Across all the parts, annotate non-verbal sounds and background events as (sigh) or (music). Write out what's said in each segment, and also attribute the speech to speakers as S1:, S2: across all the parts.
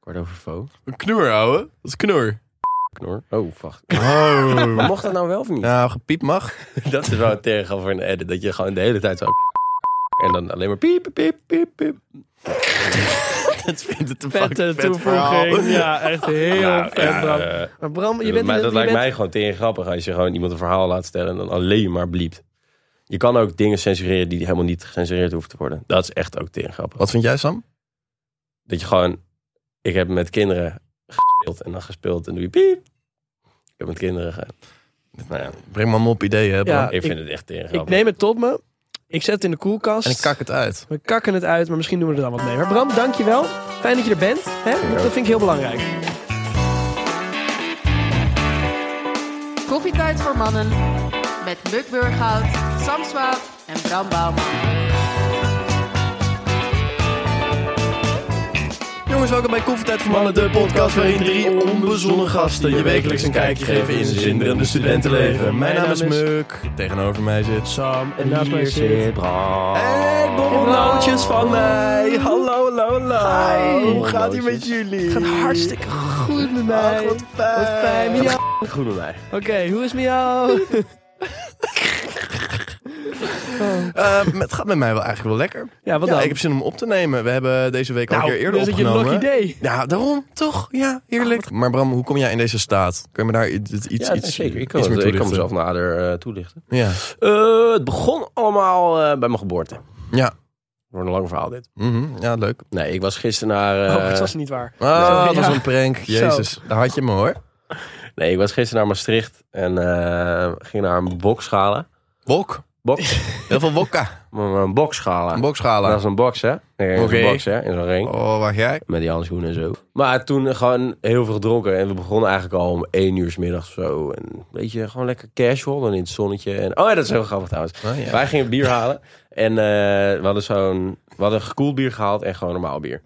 S1: Kwart over vo?
S2: Een knoer, ouwe. Dat is knoer.
S1: Knor? Oh, wacht.
S2: Oh.
S1: Maar mocht dat nou wel of niet?
S2: Nou, gepiep mag.
S1: Dat is wel een tegengaan voor een edit. Dat je gewoon de hele tijd zo... En dan alleen maar piep, piep, piep, piep. dat vindt het een
S3: vette
S1: fucking vet verhaal.
S3: toevoeging. Ja, echt heel
S1: Nou,
S3: vet,
S1: ja,
S3: Bram.
S1: eh,
S3: Maar Bram, je bent...
S1: maar
S3: je
S1: dat lijkt
S3: bent-
S1: mij gewoon tegen grappig als je gewoon iemand een verhaal laat stellen en dan alleen maar bliept. Je kan ook dingen censureren die helemaal niet gecensureerd hoeven te worden. Dat is echt ook tegen grappig.
S2: Wat vind jij, Sam?
S1: Dat je gewoon, ik heb met kinderen gespeeld en dan gespeeld en doe je piep. Ik heb met kinderen ge... Nou ja,
S2: Breng maar een op ideeën, hè, Bram.
S3: Ja,
S1: ik vind
S3: ik,
S1: het echt tegen
S3: ik
S1: grappig.
S3: neem het tot me. Ik zet het in de koelkast.
S2: En ik kak het uit.
S3: We kakken het uit, maar misschien doen we er dan wat mee. Maar Bram, dankjewel. Fijn dat je er bent. Hè? Dat vind ik heel belangrijk.
S4: Koffietijd voor mannen met Muk Burghout, Sam Swaap en Bram Bouwman.
S2: Jongens, welkom bij Koffietijd voor Mannen, de podcast waarin drie onbezonnen gasten je wekelijks een kijkje geven in zijn zinderende studentenleven. Mijn naam is Muk, tegenover mij zit Sam
S3: En naast mij zit...
S2: en borrelnootjes van mij. Hallo, hallo, hallo. Hoe gaat ie met jullie?
S3: Het gaat hartstikke goed met mij.
S2: Ach, wat fijn.
S3: Wat fijn. Miauw.
S1: Goed met mij.
S3: Oké, hoe is miauw?
S2: Eh, het gaat met mij wel eigenlijk wel lekker.
S3: Ja, wat
S2: Ja, dus
S3: dan?
S2: ik heb zin om op te nemen. We hebben deze week al
S3: nou,
S2: een keer eerder
S3: dat is het je
S2: opgenomen.
S3: nog idee.
S2: Ja, daarom toch? Ja, heerlijk. Oh, maar Bram, hoe kom jij in deze staat? Kun je me daar i- i- iets,
S1: ja,
S2: iets,
S1: zeker. Ik kan,
S2: iets
S1: het-
S2: meer
S1: ik kan
S2: toelichten?
S1: mezelf nader eh, toelichten.
S2: Ja.
S1: Eh, het begon allemaal eh, bij mijn geboorte.
S2: Ja.
S1: Wordt een lang verhaal dit.
S2: Mhm. ja, leuk.
S1: Nee, ik was gisteren naar... eh,
S3: oh, dat was niet waar.
S2: Ah, dat was een prank. Jezus, daar had je me hoor.
S1: Nee, ik was gisteren naar Maastricht en eh, ging naar een bokschalen.
S2: Wok.
S1: Bok,
S2: (laughs) Heel veel wokka.
S1: een bokschalen.
S2: Een
S1: Dat
S2: bokschalen.
S1: is een box, hè? Nee, dat is
S2: Oké.
S1: een box, hè? In zo'n ring.
S2: Oh, waar jij?
S1: Met die handschoenen en zo. Maar toen gewoon heel veel gedronken. En we begonnen eigenlijk al om één uur 's middags of zo. En weet je, gewoon lekker casual. Dan in het zonnetje. En... Oh ja, dat is heel grappig trouwens.
S2: Oh, ja.
S1: Wij gingen bier halen. En eh, we hadden zo'n... We hadden gekoeld bier gehaald en gewoon normaal bier.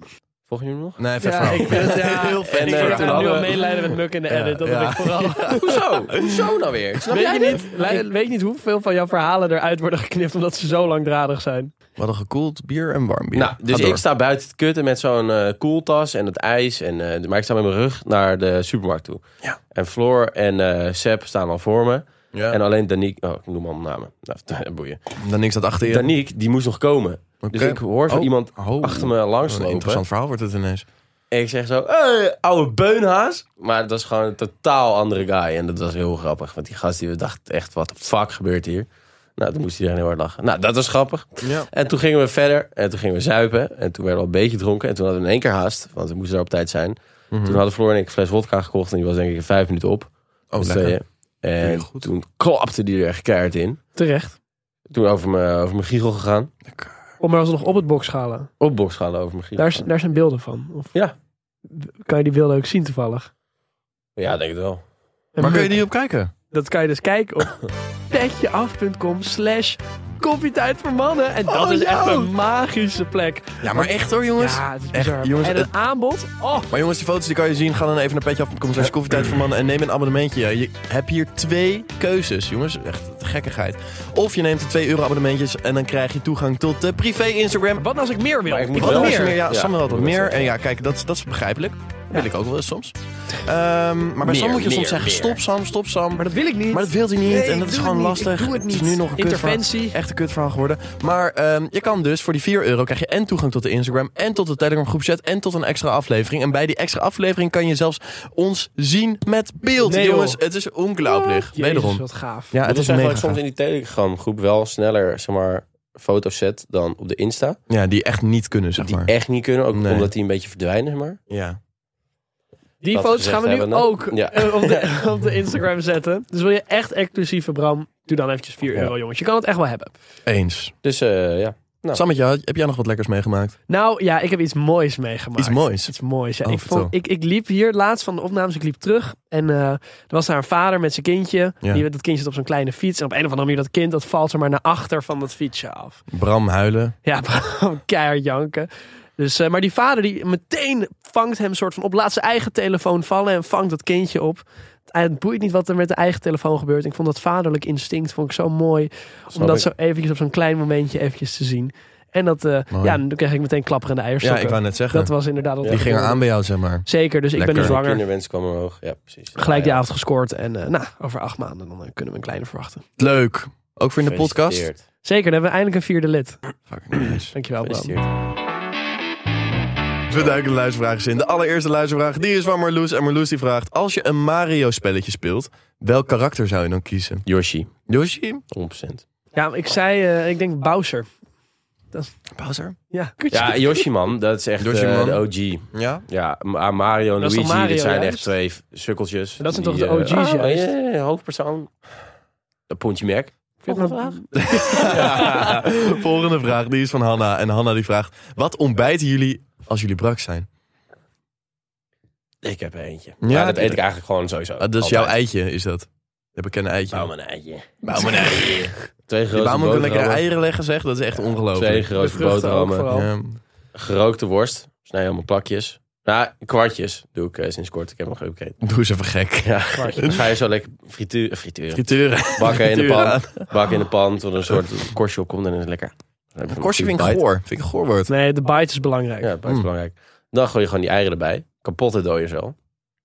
S1: Volgen jullie me
S2: (laughs)
S1: nog?
S2: Nee, vet
S3: Ja,
S2: verhaal.
S3: ik vind
S2: (laughs)
S3: het ja,
S2: Heel vet
S3: En, ik
S1: verhaal.
S3: vind het nu al
S1: Hadden-
S3: meelijden met Muk in de
S2: Ja,
S3: edit. Dat
S2: ja.
S3: heb ik vooral.
S1: Hoezo? Hoezo nou weer? Snap
S3: Weet
S1: jij
S3: je
S1: dit?
S3: niet, Leiden- weet je niet hoeveel van jouw verhalen eruit worden geknipt omdat ze zo langdradig zijn?
S2: We hadden gekoeld bier en warm bier.
S1: Nou, dus
S2: Ga door.
S1: ik sta buiten het kutten met zo'n eh, koeltas en het ijs. En, eh, maar ik sta met mijn rug naar de supermarkt toe.
S2: Ja.
S1: En Floor en eh Seb staan al voor me.
S2: Ja.
S1: En alleen Danique... Oh, ik noem allemaal namen. Nou, (laughs) boeien.
S2: Dan niks dat achter je.
S1: Danique, die moest nog komen.
S2: Oké.
S1: Dus ik hoor zo
S2: Oh.
S1: iemand
S2: Oh,
S1: achter me langs
S2: wat een
S1: lopen.
S2: interessant verhaal wordt het ineens.
S1: En ik zeg zo, hey, oude beunhaas. Maar dat is gewoon een totaal andere guy. En dat was heel grappig. Want die gast die we dachten echt, wat de fuck gebeurt hier? Nou, toen moest iedereen heel hard lachen. Nou, dat was grappig.
S2: Ja.
S1: En toen gingen we verder. En toen gingen we zuipen. En toen werden we al een beetje dronken. En toen hadden we in één keer haast. Want we moesten daar op tijd zijn.
S2: Hmm. Mhm.
S1: Toen hadden Floor en ik een fles wodka gekocht. En die was denk ik in vijf minuten op.
S2: Oh,
S1: Met
S2: lekker.
S1: tweeën.
S2: Heel
S1: En
S2: goed.
S1: toen klapte die er echt keihard in.
S3: Terecht.
S1: Toen over mijn, over mijn giegel gegaan.
S3: Om maar alsnog op het box schalen.
S1: Op boksschalen over mijn giegel.
S3: Daar, s- daar zijn beelden van. Of
S1: Ja.
S3: Kan je die beelden ook zien toevallig?
S1: Ja, denk het wel.
S3: En
S2: Waar kun je
S3: Muk,
S2: die op kijken?
S3: Dat kan je dus kijken op
S2: (laughs)
S3: petjeaf.com slash koffietijd voor mannen. En dat
S2: Oh,
S3: is echt
S2: yo.
S3: een magische plek.
S2: Ja, maar echt hoor, jongens.
S3: ja, het is
S2: echt,
S3: bizar.
S2: jongens,
S3: en het,
S2: het-
S3: aanbod? Oh,
S2: Maar jongens, die foto's die kan je zien. Ga dan even naar petjeaf.com slash koffietijd voor mannen en neem een abonnementje. Ja, Je hebt hier twee keuzes, jongens. Echt gekkigheid. Of je neemt de 2 euro abonnementjes en dan krijg je toegang tot de privé Instagram.
S3: wat als ik meer wil?
S1: Maar ik moet
S3: wil
S1: wel
S2: Wat
S1: eens
S2: meer?
S3: meer.
S2: Ja,
S1: Ja,
S2: Sam wil altijd
S1: ik moet
S2: meer.
S1: dat
S2: En ja, kijk, dat, is- dat is begrijpelijk. Dat wil ik ook wel eens soms. Ehm, maar bij
S1: Meer,
S2: Sam moet je soms
S1: meer,
S2: zeggen,
S1: meer.
S2: stop Sam, stop Sam.
S3: Maar dat wil ik niet.
S2: Maar dat wil hij niet
S3: Nee,
S2: en
S3: ik
S2: dat is
S3: doe
S2: gewoon
S3: het niet.
S2: lastig.
S3: Ik doe het
S2: is
S3: niet.
S2: nu nog een kutverhaal.
S3: Interventie.
S2: Echt een kutverhaal geworden. Maar ehm, je kan dus voor die 4 euro krijg je en toegang tot de Instagram... en tot de Telegram groepchat en tot een extra aflevering. En bij die extra aflevering kan je zelfs ons zien met beeld.
S3: Nee, joh. Oh,
S2: Jongens, het is ongelooflijk.
S3: Jezus,
S2: Wederom.
S3: wat gaaf.
S2: Ja, het
S1: dat
S2: is
S1: is eigenlijk
S2: mega
S1: soms in die Telegram groep wel sneller, zeg maar, foto's zet dan op de Insta.
S2: gaaf. Ja, die echt niet kunnen, zeg
S1: Die
S2: maar.
S1: echt niet kunnen, ook
S2: Nee.
S1: omdat die een beetje verdwijnen, zeg maar.
S2: Ja.
S3: Die
S1: Dat
S3: foto's gaan we nu
S1: gezegd hebben,
S3: ook
S1: ja.
S3: eh, op, de, (laughs) op de Instagram zetten. Dus wil je echt exclusieve Bram, doe dan eventjes 4
S1: Ja.
S3: euro, jongens. Je kan het echt wel hebben.
S2: Eens.
S1: Dus eh, ja, Nou.
S2: Sammetje, had- heb jij nog wat lekkers meegemaakt?
S3: Nou ja, ik heb iets moois meegemaakt.
S2: Iets moois.
S3: Iets moois. Ja.
S2: Oh,
S3: ik,
S2: vertel.
S3: vond, ik, ik liep hier laatst van de opnames, ik liep terug. En eh, er was daar een vader met zijn kindje.
S2: Ja.
S3: Die, dat kindje zat op zo'n kleine fiets. En op een of andere manier dat kind, dat valt er maar naar achter van dat fietsje af.
S2: Bram huilen.
S3: Ja, (laughs) keihard janken. Dus, eh, maar die vader die meteen vangt hem soort van op, laat zijn eigen telefoon vallen en vangt dat kindje op. En het boeit niet wat er met de eigen telefoon gebeurt. Ik vond dat vaderlijk instinct vond ik zo mooi. om dat
S1: ik.
S3: zo eventjes op zo'n klein momentje eventjes te zien. En dat, eh,
S2: Mooi.
S3: ja, en toen kreeg ik meteen klapperende
S2: Ja,
S3: eierstokken.
S2: ik wou net zeggen.
S3: Dat was inderdaad... wat
S2: Die
S3: ik
S2: gingen
S3: wilde.
S2: aan bij jou, zeg maar.
S3: Zeker, dus ik ben
S2: Lekker.
S3: nu
S1: De
S3: zwanger.
S1: kinderwens kwam omhoog. Ja, precies.
S3: Gelijk die
S1: Ja, ja.
S3: avond gescoord. En eh, nou, over acht maanden dan eh, kunnen we een kleine verwachten.
S2: Leuk. Ook voor in de podcast.
S1: Gefeliciteerd.
S3: Zeker, dan hebben we eindelijk een vierde lid.
S2: Fucking nice.
S3: Dankjewel, Bram.
S1: Gefeliciteerd.
S2: We duiken de luistervragen in. De allereerste luistervraag, die is van Marloes. En Marloes die vraagt, als je een Mario-spelletje speelt, welk karakter zou je dan kiezen?
S1: Yoshi,
S2: Yoshi?
S1: 100%.
S3: Ja, maar ik zei, eh, ik denk Bowser.
S2: Bowser?
S3: Ja,
S1: Ja, Yoshi man, dat is echt
S2: Yoshi,
S1: eh,
S2: man.
S1: de OG.
S2: Ja. (laughs)
S1: Ja, maar Mario en
S3: Dat is toch
S1: Luigi,
S3: Mario,
S1: dat zijn
S3: juist?
S1: echt twee f- sukkeltjes.
S3: Dat zijn
S1: Die,
S3: toch de
S1: eh,
S3: OG's juist?
S1: ah, ja, ja, ja, hoofdpersoon. Een Pontje Mac. Volgende vraag.
S2: Volgende vraag, die is van Hanna. En Hanna die vraagt, wat ontbijten jullie als jullie brak zijn?
S1: Ik heb er eentje.
S2: Ja,
S1: Ja, dat eet
S2: tuurlijk.
S1: ik eigenlijk gewoon sowieso.
S2: Ah, dat is
S1: Altijd.
S2: jouw eitje, is dat? De bekende eitje.
S1: Bouw me een eitje.
S2: Bouw me een eitje.
S1: Twee grote
S2: Bouw me ook lekker
S1: boterhammen.
S2: eieren leggen, zeg. Dat is echt
S1: Twee
S2: ongelooflijk.
S3: De
S1: grote
S3: vruchten ook
S1: boterhammen.
S3: vooral.
S2: Ja.
S1: Gerookte worst. Snij helemaal plakjes. Nou, kwartjes doe ik eh, sinds kort. Ik heb nog geen
S2: Doe eens even gek.
S1: Ja, dan ga je zo lekker frituur, frituren.
S2: Frituren.
S1: Bakken in de pan.
S2: Frituren.
S1: Bakken in de pan tot er een
S2: (laughs)
S1: soort korstje op komt en dan is het lekker. Dan heb je
S2: Korstje vind ik
S1: bite.
S2: goor. Vind ik een goor woord.
S3: Nee, de bite is belangrijk.
S1: Ja, dat is
S2: Mm.
S1: belangrijk. Dan gooi je gewoon die eieren erbij. Kapotte dooien zo.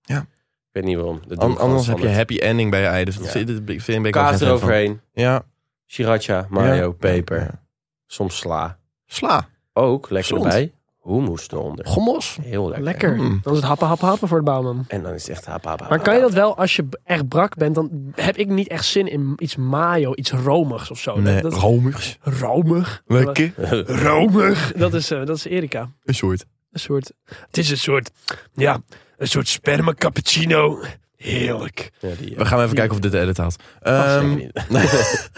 S2: Ja.
S1: Ik weet niet waarom. Dat doe
S2: An-
S1: ik gewoon
S2: anders heb je
S1: standaard.
S2: happy ending bij je ei. Dus dat
S1: Ja.
S2: vind ik- vind ik een beetje
S1: kaas eroverheen.
S2: Ja.
S1: Sriracha, mayo,
S2: Ja.
S1: peper.
S2: Ja.
S1: Soms sla.
S2: Sla.
S1: Ook lekker
S2: Gezond.
S1: erbij. Hummus eronder.
S2: Gommos.
S1: Heel lekker.
S3: Lekker.
S2: Mm.
S3: Dan is het happen, happen, happen voor de bouwman.
S1: En dan is het echt hap, hap, hap,
S3: Maar
S1: hap,
S3: kan je
S1: hap.
S3: dat wel, als je b- echt brak bent, dan heb ik niet echt zin in iets mayo, iets romigs of zo. Dat-
S2: Nee,
S3: dat,
S2: romigs.
S3: romig. (laughs)
S2: Lekker.
S3: Romig. Dat is, eh, dat is Erika.
S2: Een soort.
S3: Een soort, het is een soort, ja, een soort sperma cappuccino. Heerlijk.
S1: (laughs) Ja, die, eh,
S2: We gaan even kijken of dit de edit haalt. Ehm,
S1: zeker niet.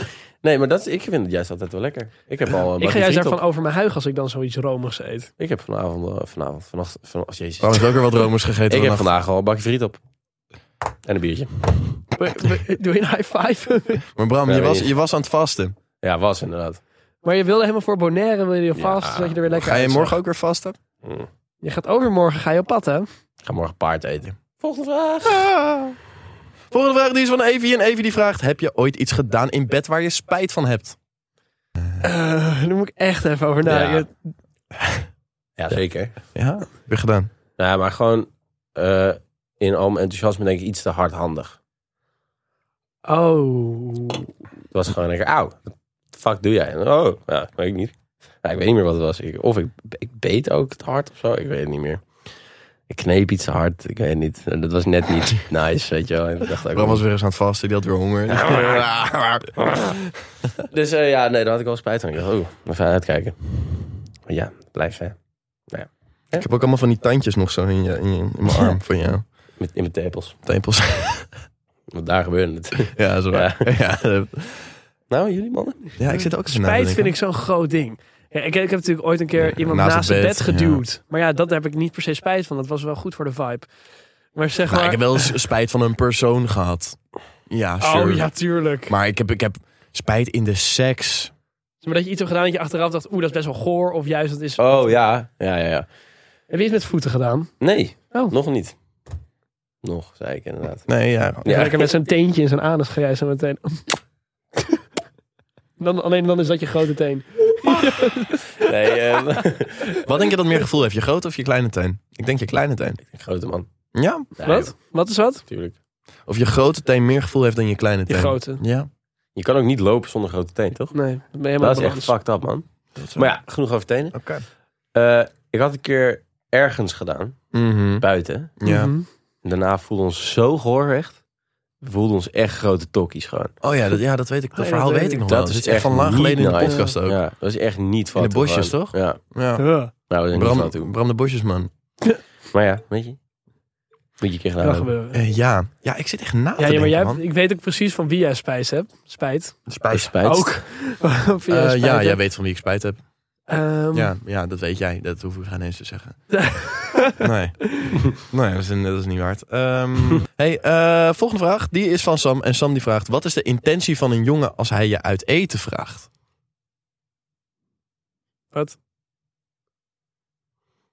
S1: (laughs) nee, maar dat, is- ik vind het juist altijd wel lekker. Ik heb al een
S3: ik ga
S1: bakje
S3: juist
S1: friet op.
S3: daarvan over mijn huig als ik dan zoiets romigs eet.
S1: Ik heb vanavond, eh, vanavond, vannacht, van, oh, jezus.
S2: Waarom is dus ook weer wat romers gegeten
S1: ik heb
S2: vannacht?
S1: vandaag al een bakje friet op. En een biertje.
S3: (laughs) Doe je een high five? (laughs)
S2: Maar Bram,
S1: Ja,
S2: je
S1: weet
S2: was,
S1: je.
S2: je was aan het vasten.
S1: Ja, was inderdaad.
S3: Maar je wilde helemaal voor Bonaire, wil je vast,
S1: Ja.
S3: zodat je er weer lekker
S2: Ga je
S3: uitzag.
S2: morgen ook weer vasten? (laughs)
S1: Hm.
S3: Je gaat overmorgen, ga je op pad, hè?
S1: Ik ga morgen paard eten. Volgende vraag.
S2: Volgende vraag die is van Evie. En Evie die vraagt, heb je ooit iets gedaan in bed waar je spijt van hebt?
S3: Eh, daar moet ik echt even over nadenken.
S1: (laughs) Ja, zeker.
S2: Ja, weer gedaan.
S1: Nou, maar gewoon eh, in al mijn enthousiasme denk ik iets te hardhandig.
S3: Oh.
S1: Het was gewoon lekker, auw, wat de fuck doe jij? En, oh, ja, weet ik niet. Ja, ik weet niet meer wat het was. Ik- of ik, ik beet ook te hard of zo, ik weet het niet meer. Ik kneep iets te hard, ik weet het niet. En Dat was net niet
S3: (laughs)
S1: nice, weet je wel. En ik dacht ook,
S2: Bram was weer eens aan het vasten, die had weer
S1: (laughs)
S2: honger. (laughs)
S1: Dus eh, ja, nee, daar had ik wel spijt van. Ik dacht, oh, even uitkijken. Maar ja, blijf hè.
S2: Ik heb ook allemaal van die tandjes nog zo in, je, in, je- in mijn arm van jou.
S1: Met, in mijn tepels. (laughs)
S2: Tepels.
S1: Want daar gebeurde het.
S2: Ja, zo. Ja.
S1: (laughs)
S2: Ja,
S1: nou, jullie mannen?
S2: ik zit ook eens
S3: Spijt vind ik zo'n groot ding. Ja, ik, ik heb natuurlijk ooit een keer iemand naast, het bed, geduwd. Maar ja, dat heb ik niet per se spijt van. Dat was wel goed voor de vibe. Maar zeg
S2: Nou,
S3: maar...
S2: ik heb wel eens spijt van een persoon gehad. Ja, sure.
S3: Oh ja, tuurlijk.
S2: Maar ik heb, ik heb spijt in de seks.
S3: Maar dat je iets hebt gedaan dat je achteraf dacht... Oeh, dat is best wel goor. Of juist, dat is...
S1: Oh ja, ja, ja, ja.
S3: Heb je iets met voeten gedaan?
S1: Nee,
S3: Oh.
S1: nog niet. Nog, zei ik inderdaad.
S2: Nee, ja.
S3: Ja.
S1: Ja.
S3: Lekker met zo'n teentje in zijn anus ga jij zo meteen... (laughs) Dan, alleen dan is dat je grote teen.
S1: (laughs) Nee, eh,
S2: Wat denk je dat meer gevoel heeft? Je grote of je kleine teen? Ik denk je kleine teen.
S1: grote man.
S2: Ja?
S1: Nee,
S3: Wat? Wat is wat?
S1: Tuurlijk.
S2: Of je grote teen meer gevoel heeft dan je kleine
S3: Je
S2: teen?
S3: grote.
S2: Ja.
S1: Je kan ook niet lopen zonder grote teen, toch?
S3: Nee, dat ben je helemaal
S1: Dat is echt
S3: balans.
S1: fucked up, man. Maar ja, genoeg over tenen.
S2: Oké.
S1: Eh, ik had een keer ergens gedaan,
S2: Mhm.
S1: buiten.
S2: Ja.
S3: Mhm.
S1: En daarna voelden we ons zo gehoorrecht. We voelden ons echt grote tokkies gewoon.
S2: Oh ja, dat, ja, dat weet ik. Dat
S3: Nee,
S2: verhaal
S3: dat
S2: weet
S3: weet
S2: ik
S3: ik.
S2: nog wel.
S1: Dat
S2: Dat
S1: is
S2: is echt
S1: echt
S2: van lang
S1: niet
S2: geleden in de
S1: nice.
S2: podcast ook.
S1: Ja, dat is echt niet van.
S2: In de bosjes, toch?
S1: Ja,
S2: Ja.
S3: Ja,
S1: nou, we zijn niet van
S2: Bram,
S1: toe.
S2: Bram de Bosjesman.
S1: Maar ja, weet je. Moet je een keer gedaan
S3: kan
S1: hebben.
S3: gebeuren.
S2: Eh, ja. Ja, ik zit echt na te
S3: Ja, ja, maar
S2: denken,
S3: jij,
S2: man.
S3: ik weet ook precies van wie jij spijt hebt. Spijt.
S1: Spijt.
S3: Ook. (laughs) Of wie jij
S2: Eh,
S3: spijt
S2: ja, jij
S3: hebt.
S2: weet van wie ik spijt heb.
S3: Ehm,
S2: Ja, ja, dat weet jij. Dat hoef ik geen eens te zeggen. nee. nee, dat is, dat is niet waard.
S3: (laughs)
S2: Ehm, hey, eh, volgende vraag. Die is van Sam. En Sam die vraagt... Wat is de intentie van een jongen als hij je uit eten vraagt?
S3: (laughs) Wat?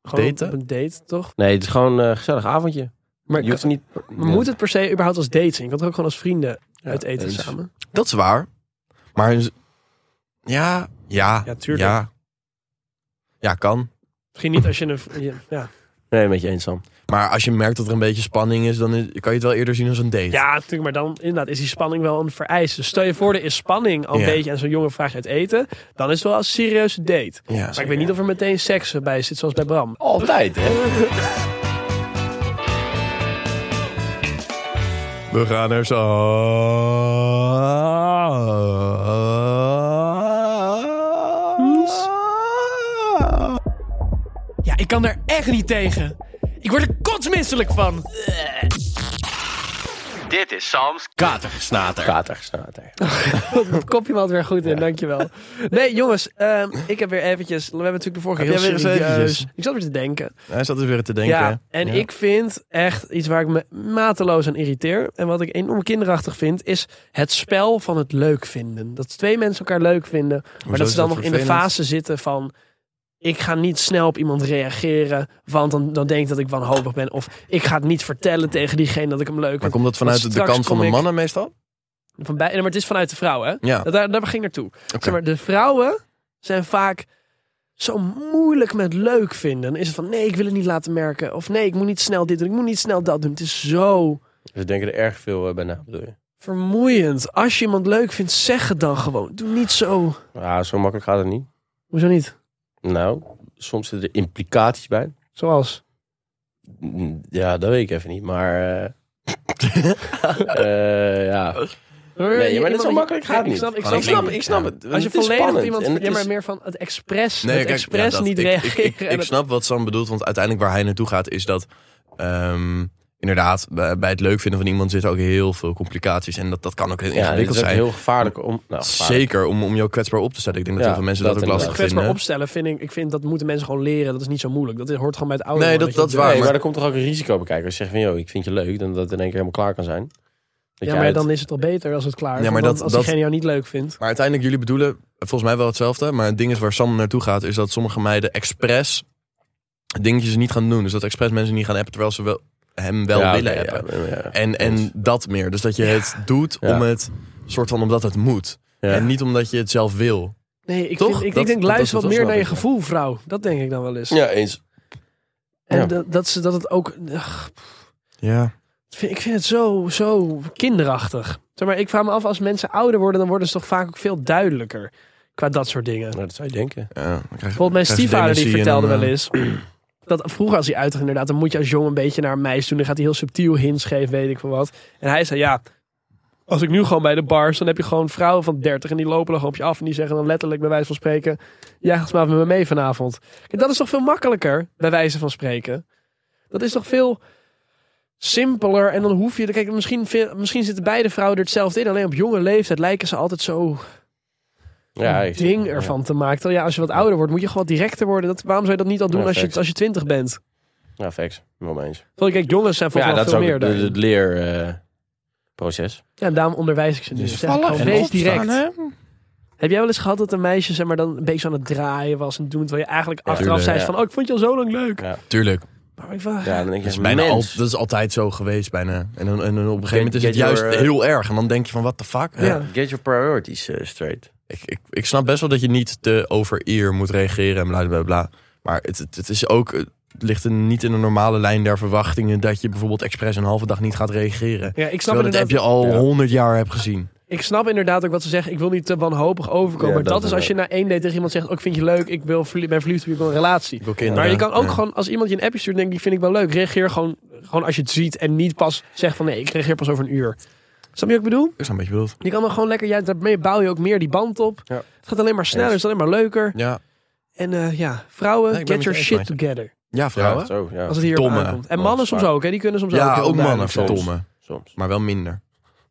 S3: Gewoon
S2: Daten?
S3: op een date, toch?
S1: Nee, het is gewoon eh, een gezellig avondje.
S3: Maar
S1: Je hoeft niet...
S3: maar moet het per se überhaupt als date zien? Je kan het ook gewoon als vrienden
S1: Ja,
S3: uit eten
S1: eens.
S3: samen.
S2: Dat is waar. Maar... z- Ja, ja.
S3: Ja, tuurlijk.
S2: Ja, ja kan.
S3: Misschien niet als je een... je- Ja,
S1: Nee, met je eens, Sam.
S2: Maar als je merkt dat er een beetje spanning is... dan is- kan je het wel eerder zien als een date.
S3: ja natuurlijk, maar dan inderdaad is die spanning wel een vereiste. Dus stel je voor, er is spanning al een
S2: Ja.
S3: beetje en zo'n jongen vraagt je uit eten. Dan is het wel een serieuze date.
S2: ja.
S3: Maar ik weet niet of er meteen seks bij zit, zoals bij Bram.
S1: Altijd, hè?
S2: We gaan er zo
S5: Ja, ik kan er echt niet tegen. Ik word er kotsmisselijk van.
S6: Dit is Sam's Katergesnater.
S1: Kater, snater.
S3: (laughs) Dat kopje me altijd weer goed in, dankjewel. Nee, jongens, ehm, ik heb weer eventjes... We hebben natuurlijk de vorige
S2: Heb
S3: heel
S2: jij weer eens
S3: serieus...
S2: eventjes?
S3: Ik zat weer te denken.
S2: Hij zat dus weer te denken.
S3: ja, en
S2: Ja.
S3: ik vind echt iets waar ik me mateloos aan irriteer. En wat ik enorm kinderachtig vind, is het spel van het leuk vinden. Dat twee mensen elkaar leuk vinden, maar
S2: Hoezo
S3: dat
S2: is
S3: ze dan
S2: dat
S3: nog in de
S2: vervelend?
S3: fase zitten van... Ik ga niet snel op iemand reageren, want dan, dan denk ik dat ik wanhopig ben. Of ik ga het niet vertellen tegen diegene dat ik hem leuk
S2: Maar
S3: vind.
S2: komt dat vanuit
S3: Want
S2: de
S3: straks
S2: kant van
S3: kom
S2: de
S3: ik-
S2: mannen meestal?
S3: Van bij, nee, maar het is vanuit de vrouw, hè?
S2: Ja.
S3: Dat, daar, daar ging ik naartoe. Zeg maar, de vrouwen zijn vaak zo moeilijk met leuk vinden. Dan is het van, nee, ik wil het niet laten merken. Of nee, ik moet niet snel dit doen, ik moet niet snel dat doen. Het is zo
S1: We denken er erg veel eh, bij na, bedoel je?
S3: vermoeiend. Als je iemand leuk vindt, zeg het dan gewoon. Doe niet zo.
S1: Ja, Ah, zo makkelijk gaat het niet.
S3: Hoezo niet?
S1: Nou, soms zitten er implicaties bij.
S3: Zoals?
S1: Mm, Ja, dat weet ik even niet, maar... eh, (laughs) eh, ja. Nee, maar dat zo makkelijk
S3: Ja,
S1: gaat
S3: ik
S1: niet.
S3: snap, ik snap,
S2: Maar
S1: Ik snap,
S2: het.
S1: ik snap het.
S3: Als je
S1: Het is
S3: volledig op
S1: spannend
S3: iemand...
S1: en het
S3: Ja, maar
S1: is-
S3: meer van het expres,
S2: Nee,
S3: het
S2: kijk,
S3: expres
S2: ja, dat-
S3: niet
S2: ik, ik,
S3: reageren.
S2: ik, ik snap wat Sam bedoelt, want uiteindelijk waar hij naartoe gaat is dat... ehm, inderdaad, bij, bij het leuk vinden van iemand zitten ook heel veel complicaties. En dat, dat kan ook heel
S1: Ja, dit
S2: ingewikkeld
S1: is ook
S2: zijn.
S1: heel gevaarlijk om... Nou, gevaarlijk.
S2: Zeker om, om jou kwetsbaar op te stellen. Ik denk dat
S1: Ja,
S2: heel veel mensen
S1: dat
S2: dat, ook
S1: inderdaad.
S2: lastig
S3: kwetsbaar
S2: vinden.
S3: opstellen vind ik, ik vind dat moeten mensen gewoon leren. Dat is niet zo moeilijk. Dat hoort gewoon bij het oude.
S2: Nee,
S3: worden,
S2: dat-
S3: je
S2: dat is waar,
S1: Nee,
S2: maar-
S1: maar er komt toch ook een risico bekijken. Als je zegt van, joh, ik vind je leuk, dan dat het in één keer helemaal klaar kan zijn. Dat
S3: Ja,
S1: je
S3: maar
S1: uit-
S3: dan is het al beter als het klaar is.
S2: Ja, maar
S3: Want
S2: dat-
S3: als
S2: dat-
S3: diegene jou niet leuk vindt.
S2: Maar uiteindelijk, jullie bedoelen volgens mij wel hetzelfde. Maar het ding is waar Sam naartoe gaat, is dat sommige meiden expres dingetjes niet gaan doen. Dus dat expres mensen niet gaan appen, terwijl ze wel, hem wel
S1: Ja,
S2: willen
S1: oké, ja,
S2: appen.
S1: ja, ja.
S2: En, en dat meer. Dus dat je het doet
S1: Ja.
S2: om het, soort van omdat het moet.
S1: Ja.
S2: En niet omdat je het zelf wil.
S3: Nee, ik,
S2: Toch?
S3: vind- ik,
S2: Dat-
S3: ik denk
S2: dat-
S3: luister wat
S2: dat- dat
S3: meer
S2: snap
S3: naar je
S2: ik, ja.
S3: gevoel, vrouw. Dat denk ik dan wel eens.
S1: Ja, eens.
S3: En
S1: ja.
S3: Dat, dat, ze, dat het ook... ach,
S2: Ja.
S3: ik vind- ik vind het zo, zo kinderachtig. Zeg maar, ik vraag me af, als mensen ouder worden, dan worden ze toch vaak ook veel duidelijker. Qua dat soort dingen.
S1: Nou, dat zou je denken.
S2: dan krijg je-
S3: Bijvoorbeeld mijn
S2: krijg je
S3: stiefvader die
S2: dementie en
S3: vertelde
S2: dan,
S3: wel eens... Dat vroeger als hij uitging inderdaad, dan moet je als jongen een beetje naar een meisje doen. Dan gaat hij heel subtiel hints geven, weet ik veel wat. En hij zei, ja, als ik nu gewoon bij de bars, dan heb je gewoon vrouwen van 30 en die lopen dan gewoon op je af en die zeggen dan letterlijk bij wijze van spreken, jij gaat maar met me mee vanavond. Kijk, dat is toch veel makkelijker, bij wijze van spreken. Dat is toch veel simpeler en dan hoef je, kijk, misschien, veel- misschien zitten beide vrouwen er hetzelfde in, alleen op jonge leeftijd lijken ze altijd zo
S1: Ja,
S3: een
S1: ik-
S3: ding
S1: ja.
S3: ervan te maken. Terwijl ja, als je wat ouder wordt, moet je gewoon wat directer worden. Dat, waarom zou je dat niet al doen
S1: Ja,
S3: als, je,
S1: facts.
S3: als je twintig bent?
S1: Ja, facts. Wel eens.
S3: Want kijk, jongens zijn
S1: Ja,
S3: volgens mij
S1: dat is
S3: veel
S1: ook
S3: meer
S1: het,
S3: daar.
S1: het leerproces.
S3: Ja, en daarom onderwijs ik ze nu. Dus zeg ik gewoon, wees direct. Heb jij wel eens gehad dat een meisje zeg maar, dan een beetje aan het draaien was en doen, terwijl je eigenlijk achteraf
S1: tuurlijk,
S3: zei
S1: ja.
S3: van, oh, ik vond je al zo lang leuk.
S1: Ja.
S2: Tuurlijk.
S3: Maar ik van,
S1: ja, dan denk je,
S2: Dat is, bijna al,
S1: mens.
S2: dat is altijd zo geweest bijna. En, dan, en dan op een gegeven moment is
S1: Get
S2: het juist
S1: your, eh,
S2: heel erg. En dan denk je van, what the fuck?
S3: Ja.
S2: Ja.
S1: Get your priorities eh, straight.
S2: ik, ik, ik snap best wel dat je niet te over eer moet reageren en bla bla bla. Maar het, het, het is ook, het ligt er niet in de normale lijn der verwachtingen dat je bijvoorbeeld expres een halve dag niet gaat reageren.
S3: Ja, ik snap,
S2: Terwijl dat
S3: inderdaad,
S2: heb je al honderd jaar hebt gezien.
S3: ik snap inderdaad ook wat ze zeggen. Ik wil niet te wanhopig overkomen.
S1: Ja,
S3: maar dat,
S1: dat
S3: is als je na één date tegen iemand zegt, oh, ik vind je leuk, ik wil, verlie- ben verliefd op je, ik wil een relatie.
S2: Ik wil kinderen.
S3: Maar je kan ook
S2: Ja.
S3: gewoon, als iemand je een appje stuurt, denk ik, die vind ik wel leuk. Reageer gewoon, gewoon als je het ziet en niet pas zeg van nee, ik reageer pas over een uur. Snap je wat ik bedoel?
S2: Dat is een beetje bedoeld.
S3: Je kan dan gewoon lekker, ja, daarmee bouw je ook meer die band op.
S1: Ja.
S3: Het gaat alleen maar sneller,
S1: Eens.
S3: het is alleen maar leuker.
S2: Ja,
S3: En eh, ja, vrouwen,
S2: Nee, ik ben
S3: get
S2: met
S3: your
S2: je
S3: shit
S2: eens, meid.
S3: together.
S2: ja
S1: Ja,
S2: vrouwen.
S1: zo, ja.
S3: Als het hier
S2: Domme.
S3: aankomt. En mannen soms ook, hè, die kunnen soms
S2: Ja,
S3: heel
S2: ook mannen
S3: duidelijk zijn.
S1: soms.
S2: verdomme.
S1: Soms.
S2: Maar wel minder.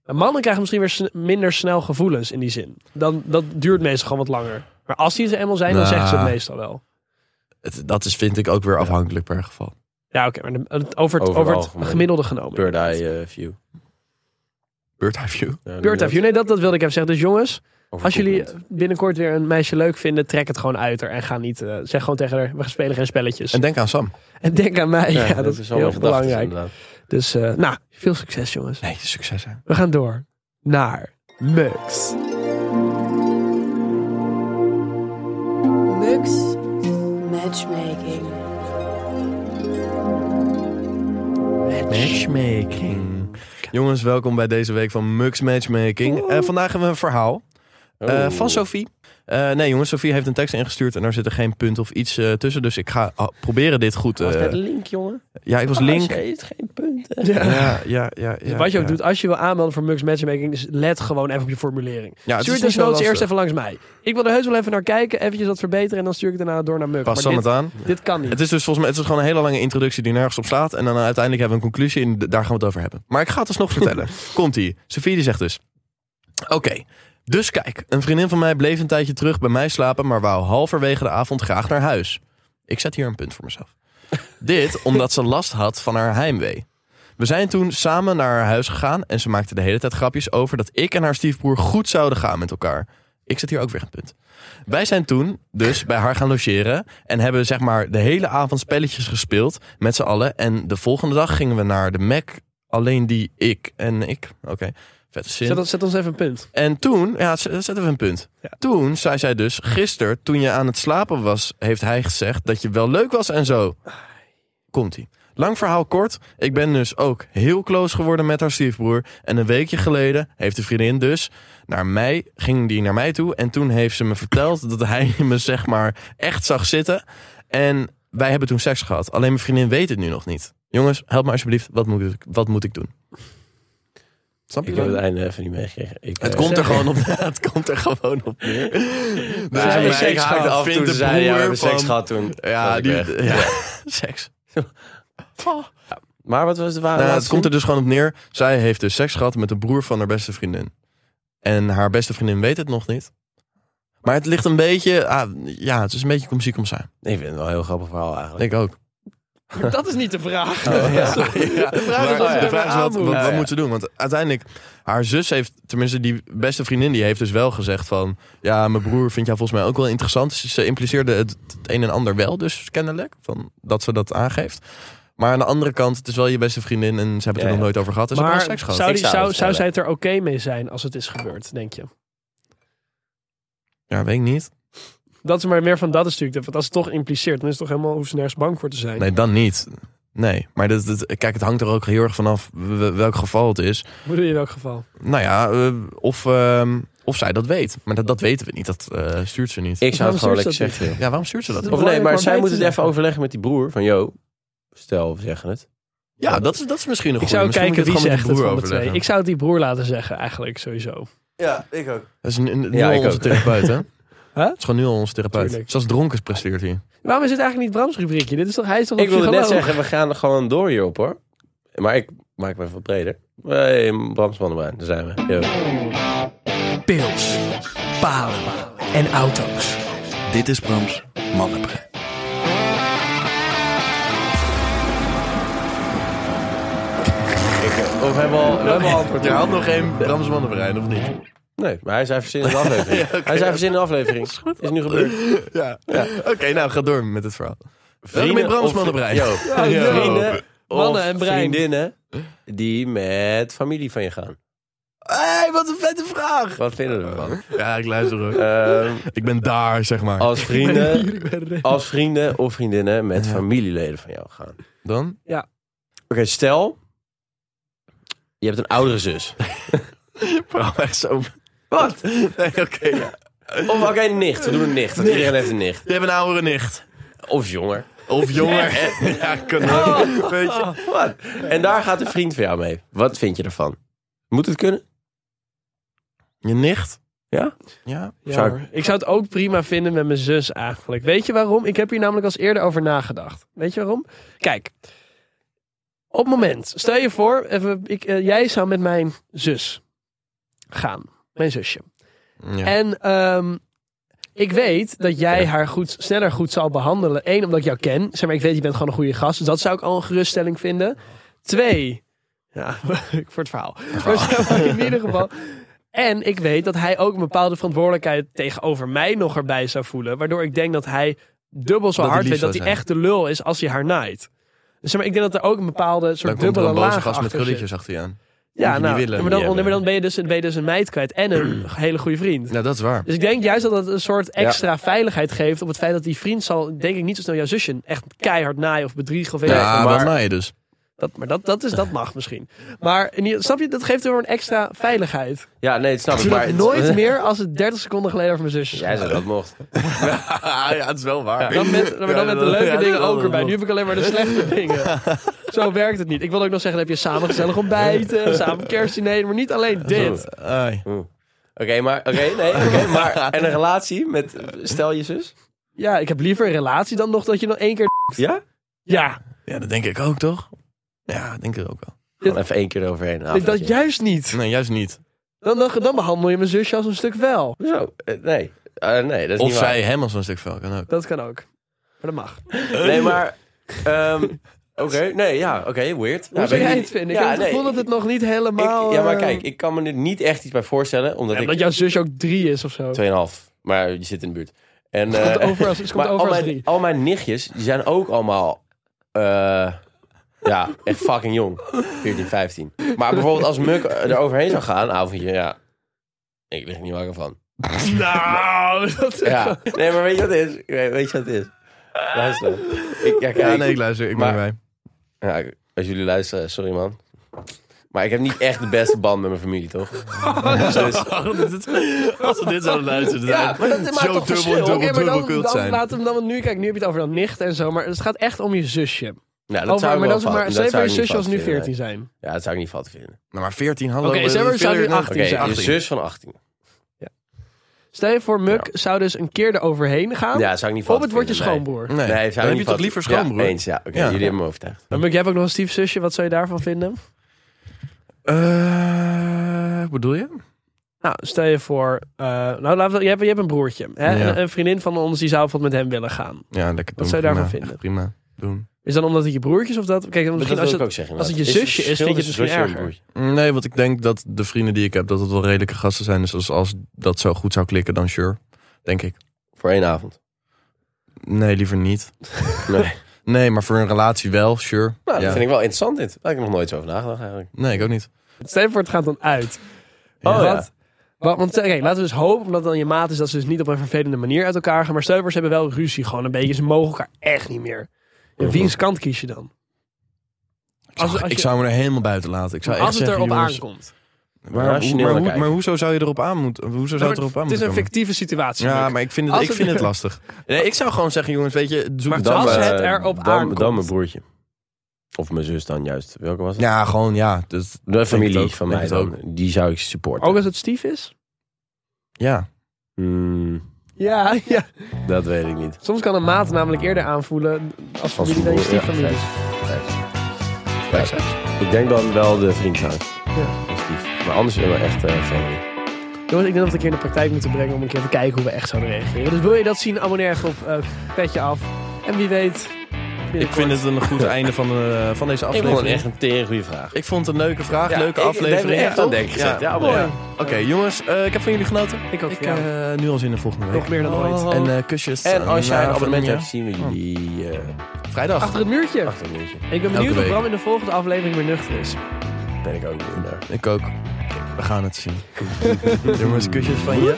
S3: Maar mannen krijgen misschien weer sn- minder snel gevoelens in die zin. Dan, dat duurt meestal gewoon wat langer. Maar als die het eenmaal zijn, dan
S2: Nou.
S3: zeggen ze het meestal wel.
S2: Het- dat is, vind ik, ook weer afhankelijk per geval.
S3: Ja, oké, maar de- het- over het,
S1: Over
S3: over het
S1: algemeen.
S3: gemiddelde genomen.
S1: Bird eye eh, view.
S2: Bird eye view.
S1: Ja,
S3: Bird
S1: dat-
S3: of you. Nee, dat, dat wilde ik even zeggen. Dus jongens, als jullie
S1: overkoepelend.
S3: binnenkort weer een meisje leuk vinden, trek het gewoon uit er en ga niet. eh, zeg gewoon tegen haar, we spelen geen spelletjes.
S2: En
S3: En,
S2: denk aan Sam.
S3: (laughs) denk aan mij. (laughs) Ja,
S1: Ja,
S3: dat, is heel belangrijk. Dus eh, nou, veel succes jongens.
S2: Nee, succes hè.
S3: We gaan door naar Mux.
S7: Mux Matchmaking.
S2: Matchmaking. Mm. Jongens, welkom bij deze week van Mux Matchmaking. Eh, vandaag hebben we een verhaal
S1: Oh.
S2: eh, van Sophie. Eh, nee jongens, Sophie heeft een tekst ingestuurd en daar zit er geen punt of iets eh, tussen. Dus ik ga ah, proberen dit goed. eh,
S1: link, jongen.
S2: ja, ik was link.
S1: geen punten.
S2: Ja, ja, ja.
S3: Dus
S2: ja,
S3: Oh, wat je ook
S2: ja.
S3: doet, als je wil aanmelden voor Mux Matchmaking, dus let gewoon even op je formulering.
S2: Ja,
S3: stuur
S2: het is
S3: het
S2: niet zo
S3: desnoods
S2: lastig.
S3: eerst even langs mij. Ik wil er heus wel even naar kijken, eventjes wat verbeteren en dan stuur ik het daarna door naar Mux.
S2: Pas
S3: maar
S2: Sam
S3: dit,
S2: het aan.
S3: dit kan niet.
S2: Het is dus volgens mij het is gewoon een hele lange introductie die nergens op slaat. En dan uiteindelijk hebben we een conclusie en d- daar gaan we het over hebben. Maar ik ga het alsnog
S3: (laughs)
S2: vertellen. Komt-ie. Sophie die zegt dus... Oké, dus kijk. Een vriendin van mij bleef een tijdje terug bij mij slapen... maar wou halverwege de avond graag naar huis. Ik zet hier een punt voor
S3: (laughs)
S2: mezelf. Dit omdat ze last had van haar heimwee. We zijn toen samen naar haar huis gegaan... en ze maakte de hele tijd grapjes over dat ik en haar stiefbroer goed zouden gaan met elkaar. Ik zet hier ook weer een punt. Wij zijn toen dus bij haar gaan logeren en hebben zeg maar de hele avond spelletjes gespeeld met z'n allen. En de volgende dag gingen we naar de Mac, alleen die ik en ik. Oké, vette zin.
S3: Zet, ons- zet ons even een punt.
S2: En toen, ja, z- zetten we een punt.
S3: Ja.
S2: Toen zei zij dus, gisteren toen je aan het slapen was, heeft hij gezegd dat je wel leuk was en zo. Komt ie. Lang verhaal kort, ik ben dus ook heel close geworden met haar stiefbroer. En een weekje geleden heeft de vriendin dus naar mij, ging die naar mij toe. En toen heeft ze me verteld dat hij (laughs) me zeg maar echt zag zitten. En wij hebben toen seks gehad. Alleen mijn vriendin weet het nu nog niet. Jongens, help me alsjeblieft, wat moet ik, wat moet ik doen? Snap je?
S1: Ik heb
S2: wat ik
S1: het einde even niet meegekregen. Ik,
S2: het
S1: eh,
S2: komt er gewoon op. (laughs) Het komt er gewoon op neer. Dus
S1: Ja,
S3: hebben
S1: maar
S3: seks
S1: ik haakte
S3: gehad.
S1: af
S2: Vindt
S1: toen
S2: de
S1: ze zei, ja, we
S2: broer
S1: hebben seks
S2: van-
S1: gehad toen. Was
S2: Ja,
S1: ik
S2: die,
S1: weg.
S2: (laughs) ja,
S1: (laughs)
S2: seks.
S1: Maar wat was de ware
S2: Nou, het
S1: laatste
S2: komt er
S1: zin?
S2: dus gewoon op neer. Zij heeft dus seks gehad met de broer van haar beste vriendin. En haar beste vriendin weet het nog niet. Maar het ligt een beetje... ah, ja, het is een beetje kom zie, kom zijn.
S1: Ik vind het wel een heel grappig verhaal eigenlijk.
S2: Ik ook.
S3: Maar dat is niet Oh, de vraag.
S2: Oh,
S3: (laughs)
S2: De vraag
S3: is wat ze
S2: de
S3: ermee
S2: vraag is wat,
S3: aan
S2: wat,
S1: moeten.
S2: wat moet ze doen? Want uiteindelijk, haar zus heeft... Tenminste, die beste vriendin die heeft dus wel gezegd van... Ja, mijn broer vindt jou volgens mij ook wel interessant. Dus Ze impliceerde het, het een en ander wel dus kennelijk. Van, dat ze dat aangeeft. Maar aan de andere kant, het is wel je beste vriendin... en ze hebben het er
S1: Ja,
S2: nog
S1: ja.
S2: nooit over gehad. Dus ze
S3: maar
S2: hebben wel seks gehad.
S3: zou,
S1: Ik
S3: die,
S1: zou
S3: zou,
S1: het
S3: zou
S1: stellen.
S3: zij het er oké mee zijn als het is gebeurd, denk je?
S2: Ja, weet ik niet.
S3: Dat is maar meer van dat is natuurlijk. de- Want als het toch impliceert, dan is het toch helemaal hoe ze nergens bang voor te zijn.
S2: Nee, dan niet. Nee, maar dat, dat- kijk, het hangt er ook heel erg vanaf w- w- welk geval het is.
S3: Hoe doe je in welk geval?
S2: Nou ja, eh, of, ehm, of zij dat weet. Maar dat, dat weten we niet, dat eh, stuurt ze niet.
S1: Ik zou
S3: Waarom
S1: het gewoon
S3: stuurt
S1: lekker
S3: ze dat niet?
S1: zeggen.
S2: Ja, waarom stuurt ze dat?
S1: Of
S2: niet?
S1: nee,
S3: Belangrijk om
S1: maar
S3: bij
S1: zij
S3: te
S1: moet het
S3: zeggen.
S1: even overleggen met die broer. Van, yo, stel, we zeggen het.
S2: Ja, dat is, dat is misschien een
S3: Ik
S2: goede.
S3: zou kijken wie
S2: gewoon met
S3: zegt
S2: die
S3: het
S2: broer
S3: van de twee.
S2: overleggen.
S3: Ik zou het die broer laten zeggen, eigenlijk, sowieso.
S2: Dat is nu, nu
S1: Ja,
S2: al
S1: ik
S2: onze
S1: ook.
S2: therapeut, hè?
S3: Huh?
S2: Dat is gewoon nu al onze therapeut.
S3: Tuurlijk.
S2: Zelfs dronken presteert hij.
S3: Waarom is het eigenlijk niet Brams rubriekje? Dit is toch, hij is toch
S1: Ik
S3: een
S1: wilde net
S3: psycholoog?
S1: zeggen, we gaan er gewoon door hierop hoor. Maar ik maak me even wat breder. Hey, Brams van der Bruin, daar zijn we. Yo.
S5: Pils, palen en auto's.
S6: Dit is Brams Mannenbrein.
S2: Of hebben we al, we hebben al antwoord. Je had nog geen Brams Mannenbrein, of niet?
S1: Nee, maar hij zei verzin (laughs) in de aflevering. Hij zei verzin in de aflevering. Is, nu gebeurd.
S2: Ja. Oké, nou, ga door met het verhaal. Vrienden
S1: Vrienden
S2: met Brams
S1: of-
S2: Mannenbrein. (laughs)
S1: Yo.
S2: Yo.
S1: Vrienden
S3: Mannen
S1: of
S3: en brein.
S1: vriendinnen die met familie van je gaan.
S2: Hey, wat een vette vraag!
S1: Wat vinden we ervan?
S2: Ja, ik luister ook.
S1: (laughs) Ehm,
S2: Ik ben daar, zeg maar.
S1: als, vrienden,
S3: (laughs)
S1: als vrienden of vriendinnen met familieleden van jou gaan. Oké,
S2: Dan?
S1: stel... Je hebt een oudere zus.
S2: Bro, echt zo.
S1: Wat?
S2: Nee, oké. ja.
S1: Of oké, nicht. We doen een nicht. Want iedereen heeft een nicht.
S2: Je hebt een oudere nicht.
S1: Of jonger.
S2: Of jonger. (laughs) Ja, kan ook. Weet je.
S1: Wat? En daar gaat een vriend van jou mee. Wat vind je ervan? Moet het kunnen?
S2: Je nicht?
S1: Ja?
S2: Ja.
S3: Ja,
S1: Zou ik-
S3: hoor. ik zou het ook prima vinden met mijn zus eigenlijk. Weet je waarom? Ik heb hier namelijk als eerder over nagedacht. Weet je waarom? Kijk, op het moment, stel je voor, even, ik, eh, jij zou met mijn zus gaan. Mijn zusje.
S2: Ja.
S3: En ehm, ik weet dat jij haar goed, sneller goed zal behandelen. Eén, omdat ik jou ken. Zeg maar, ik weet, je bent gewoon een goede gast. Dus dat zou ik al een geruststelling vinden. Twee, ja, (laughs) ik voor het verhaal. Maar zeg maar, in ieder geval. En ik weet dat hij ook een bepaalde verantwoordelijkheid tegenover mij nog erbij zou voelen. Waardoor ik denk dat hij dubbel zo
S2: Dat hij
S3: hard
S2: lief
S3: weet
S2: zou
S3: dat hij
S2: zijn.
S3: echt de lul is als hij haar naait. Dus zeg maar, ik denk dat er ook een bepaalde
S2: Dan
S3: soort
S2: komt er
S3: dubbele
S2: een boze
S3: laag
S2: gast met
S3: achter zit.
S2: krulletjes achter je aan.
S3: Ja,
S2: je
S3: nou,
S2: niet willen,
S3: maar, dan,
S2: niet hebben.
S3: maar dan ben je, dus, ben je dus een meid kwijt en
S2: (clears throat)
S3: een hele goede vriend.
S2: Nou, dat is waar.
S3: Dus ik denk juist dat het een soort extra veiligheid geeft op het feit dat die vriend zal, denk ik, niet zo snel jouw zusje echt keihard naaien of bedriegen of weet ik
S2: Ja,
S3: veel.
S2: maar
S3: maar
S2: na je (laughs) dus.
S3: dat, maar dat, dat, is, dat mag misschien. Maar in ieder- snap je, dat geeft weer een extra veiligheid.
S1: Ja, nee, dat snap ik.
S3: Doe
S1: Maar
S3: dat nooit meer als het 30 seconden geleden over mijn zusje
S1: (laughs) Jij
S3: ging.
S1: zei dat mocht.
S2: ja, het is wel waar.
S3: Dan met, maar
S2: Ja,
S3: dan met de
S2: dat-
S3: leuke
S2: ja,
S3: dingen
S2: dat-
S3: ook erbij. Nu heb ik alleen maar de
S2: (laughs)
S3: slechte dingen. Zo werkt het niet. Ik wil ook nog zeggen, dan heb je samen gezellig ontbijten, samen kerstdiner, maar niet alleen dit.
S2: Ai.
S1: Oké, maar, oké, nee,
S3: (laughs)
S1: oké, maar. En een relatie met, stel je zus?
S3: Ja, ik heb liever een relatie dan nog dat je nog één keer...
S1: Ja?
S3: Ja,
S2: Ja, dat denk ik ook, toch? Ja, ik denk ik ook wel.
S1: Gewoon even één keer overheen. Nou,
S3: dat juist niet.
S2: Nee, juist niet.
S3: Dan, dan, dan behandel je mijn zusje als een stuk wel.
S1: Zo, eh, nee. Eh, nee, dat is
S2: Of
S1: niet waar.
S2: zij hem als een stuk vel, kan ook.
S3: Dat kan ook. Maar dat mag.
S1: Nee, maar... ehm, oké, nee, ja, oké, weird.
S3: Hoe
S1: Nou,
S3: zou
S1: weet
S3: jij
S1: ik
S3: het vinden? Ik
S1: Ja,
S3: heb het
S1: nee,
S3: gevoel dat het nog niet
S1: ik-
S3: helemaal...
S1: ja, maar
S3: eh,
S1: kijk, ik kan me er niet echt iets bij voorstellen,
S3: ja,
S1: omdat ik...
S3: omdat jouw zusje ook drie is of zo.
S1: Tweeënhalf, maar je zit in de buurt. En,
S3: Het komt
S1: eh,
S3: over als, het komt
S1: maar al
S3: over als
S1: mijn,
S3: drie.
S1: al mijn nichtjes, die zijn ook allemaal... eh, ja, echt fucking jong. 14, 15. Maar bijvoorbeeld als Muk er overheen zou gaan, avondje, ja... Ik lig er niet wakker van.
S3: (laughs) Nou, dat
S1: Ja. Nee, maar weet je wat het is? Nee, Weet je wat het is? Luister. Ik, ja, kijk,
S2: Ja, nee, ik luister. Ik ben
S1: Maar-
S2: (laughs) erbij.
S1: Ja, ik- als jullie luisteren, sorry man. Maar ik heb niet echt de beste band met mijn familie, toch? Nou, Dus-
S2: Oh, Als we dit (laughs) zouden luisteren,
S1: ja, maar dat maakt toch
S2: Zo dubbel,
S1: verschil?
S2: dubbel.
S3: Oké, maar dan,
S2: dubbelkult
S3: dan
S2: zijn.
S3: laat hem dan, want nu, kijk, nu heb je het over dan nicht en zo, maar het gaat echt om je zusje.
S1: Ja, dat
S3: Oh,
S1: zou
S3: maar, maar
S1: ik wel
S3: dat is
S1: fout-
S3: maar,
S1: dat
S3: zeg
S1: zou
S3: maar
S1: ik
S3: je
S1: niet
S3: zusje
S1: fout
S3: als nu
S1: vinden,
S3: 14 zijn.
S1: nee. Ja, dat zou ik niet fout vinden.
S2: Nou, maar 14, hallo.
S3: Oké,
S2: we-
S3: zij
S2: we-
S3: we- zijn nu
S2: verder-
S3: 18.
S1: Oké, je
S3: 18.
S1: zus van 18.
S3: Stel je voor, Muk zou dus een keer eroverheen gaan.
S1: Ja, dat zou ik niet fout
S3: op het woordje
S1: vinden, nee.
S3: schoonbroer.
S2: Nee,
S1: Nee,
S2: dan
S1: zou ik
S2: heb
S1: niet
S2: je
S1: fout
S2: toch liever
S1: vinden.
S2: schoonbroer?
S1: Ja, eens, ja. Oké,
S2: Ja.
S1: jullie hebben me overtuigd.
S3: Maar Muk, jij hebt ook nog een stiefzusje. Wat zou je daarvan vinden?
S2: Eh, wat bedoel je?
S3: Nou, stel je voor, eh, nou, laten we, je, hebt, je hebt een broertje. Hè?
S2: Ja.
S3: Een, een vriendin van ons die zou bijvoorbeeld met hem willen gaan.
S2: Ja, lekker doen.
S3: zou je daarvan
S2: prima.
S3: vinden?
S2: Echt prima. Doen.
S3: Is dan omdat het je broertje is of dat? Kijk, dan
S1: Dat
S3: misschien
S1: wil
S3: als
S1: ik
S3: het,
S1: ook zeggen.
S3: als het je
S1: inderdaad.
S3: zusje is,
S1: verschil
S3: vind je het
S1: tussen
S3: misschien
S1: zusje en
S3: erger.
S1: broertje?
S2: Nee, want ik denk dat de vrienden die ik heb, dat het wel redelijke gasten zijn. Dus als, als dat zo goed zou klikken, dan sure. Denk ik.
S1: Voor één avond.
S2: Nee, liever niet.
S1: (laughs) Nee.
S2: Nee, maar voor een relatie wel, sure.
S1: Nou,
S2: Ja.
S1: dat vind ik wel interessant dit. Daar heb ik nog nooit zo over nagedacht eigenlijk.
S2: Nee, ik ook niet.
S3: stel je voor, het gaat dan uit.
S1: Oh, ja.
S3: Wat? Wat- want oké, laten we dus hopen, omdat dan je maat is, dat ze dus niet op een vervelende manier uit elkaar gaan. Maar stel je voor, ze hebben wel ruzie, gewoon een beetje. Ze mogen elkaar echt niet meer. En wiens kant kies je dan?
S2: Ik zou,
S3: Als- als
S2: ik
S3: je-
S2: zou me er helemaal buiten laten. Ik zou
S3: Als
S2: echt
S3: het
S2: zeggen,
S3: erop
S2: jongens,
S3: aankomt.
S2: Maar, hoe-
S1: Rationeel
S2: maar, hoe-
S1: kijken.
S2: maar hoezo zou je erop aan moeten? Hoezo zou het erop aan
S3: het is
S2: moeten
S3: een
S2: komen?
S3: fictieve situatie.
S2: Ja,
S3: Muk.
S2: maar ik vind het,
S3: Als
S2: ik
S3: het-
S2: vind het lastig. Nee, ik zou gewoon zeggen, jongens, weet je, zoek
S3: Maar
S2: het af.
S3: als
S1: eh,
S3: het erop
S1: dan,
S3: aankomt.
S1: Dan mijn broertje. Of mijn zus dan juist. Welke was het?
S2: Ja, gewoon, ja. Dus,
S1: De familie
S2: Denk het ook,
S1: van
S2: denk
S1: mij
S2: het ook.
S1: dan. Die zou ik supporten.
S3: Ook als het stief is?
S2: ja.
S1: Hmm,
S3: Ja, (laughs) ja.
S1: dat weet ik niet.
S3: Soms kan een maat namelijk eerder aanvoelen als familie dan je
S1: broer, ja,
S3: stieffamilie.
S1: precies. Kijk, Ik denk dan wel de vriend zijn. Maar anders willen we echt eh family.
S3: Jongens, ik denk dat we het een keer in de praktijk moeten brengen om een keer te kijken hoe we echt zouden reageren. Dus wil je dat zien, abonneer even op eh, Petje Af. En wie weet...
S2: Ik vind het een goed einde van, eh, van deze
S1: Ik
S2: aflevering.
S1: vond het echt een tering goede vraag.
S2: Ik vond het een leuke vraag,
S1: Ja,
S2: leuke
S1: ik-
S2: aflevering.
S1: daar heb ik echt aan
S2: Toch?
S1: denk gezet. Ja,
S2: mooi.
S1: mooi.
S2: Oké, jongens, eh, ik heb van jullie genoten.
S3: eh, Ik ook,
S2: Ik
S3: ja.
S2: eh, nu al zin in de volgende week.
S3: Nog meer dan ooit.
S2: En eh, kusjes.
S1: En als jij een
S2: eh,
S1: abonnement
S2: van-
S1: hebt, zien we jullie eh
S2: ja, Vrijdag.
S3: Achter het muurtje.
S1: achter een uurtje.
S3: Ik ben benieuwd of
S2: week.
S3: Bram in de volgende aflevering weer nuchter is.
S1: Ben ik ook weer eh. daar.
S2: Ik ook. We gaan het
S1: (laughs)
S2: zien. jongens, kusjes van je.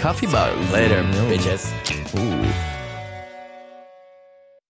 S2: Coffee bar. Later. Bitches. Oeh.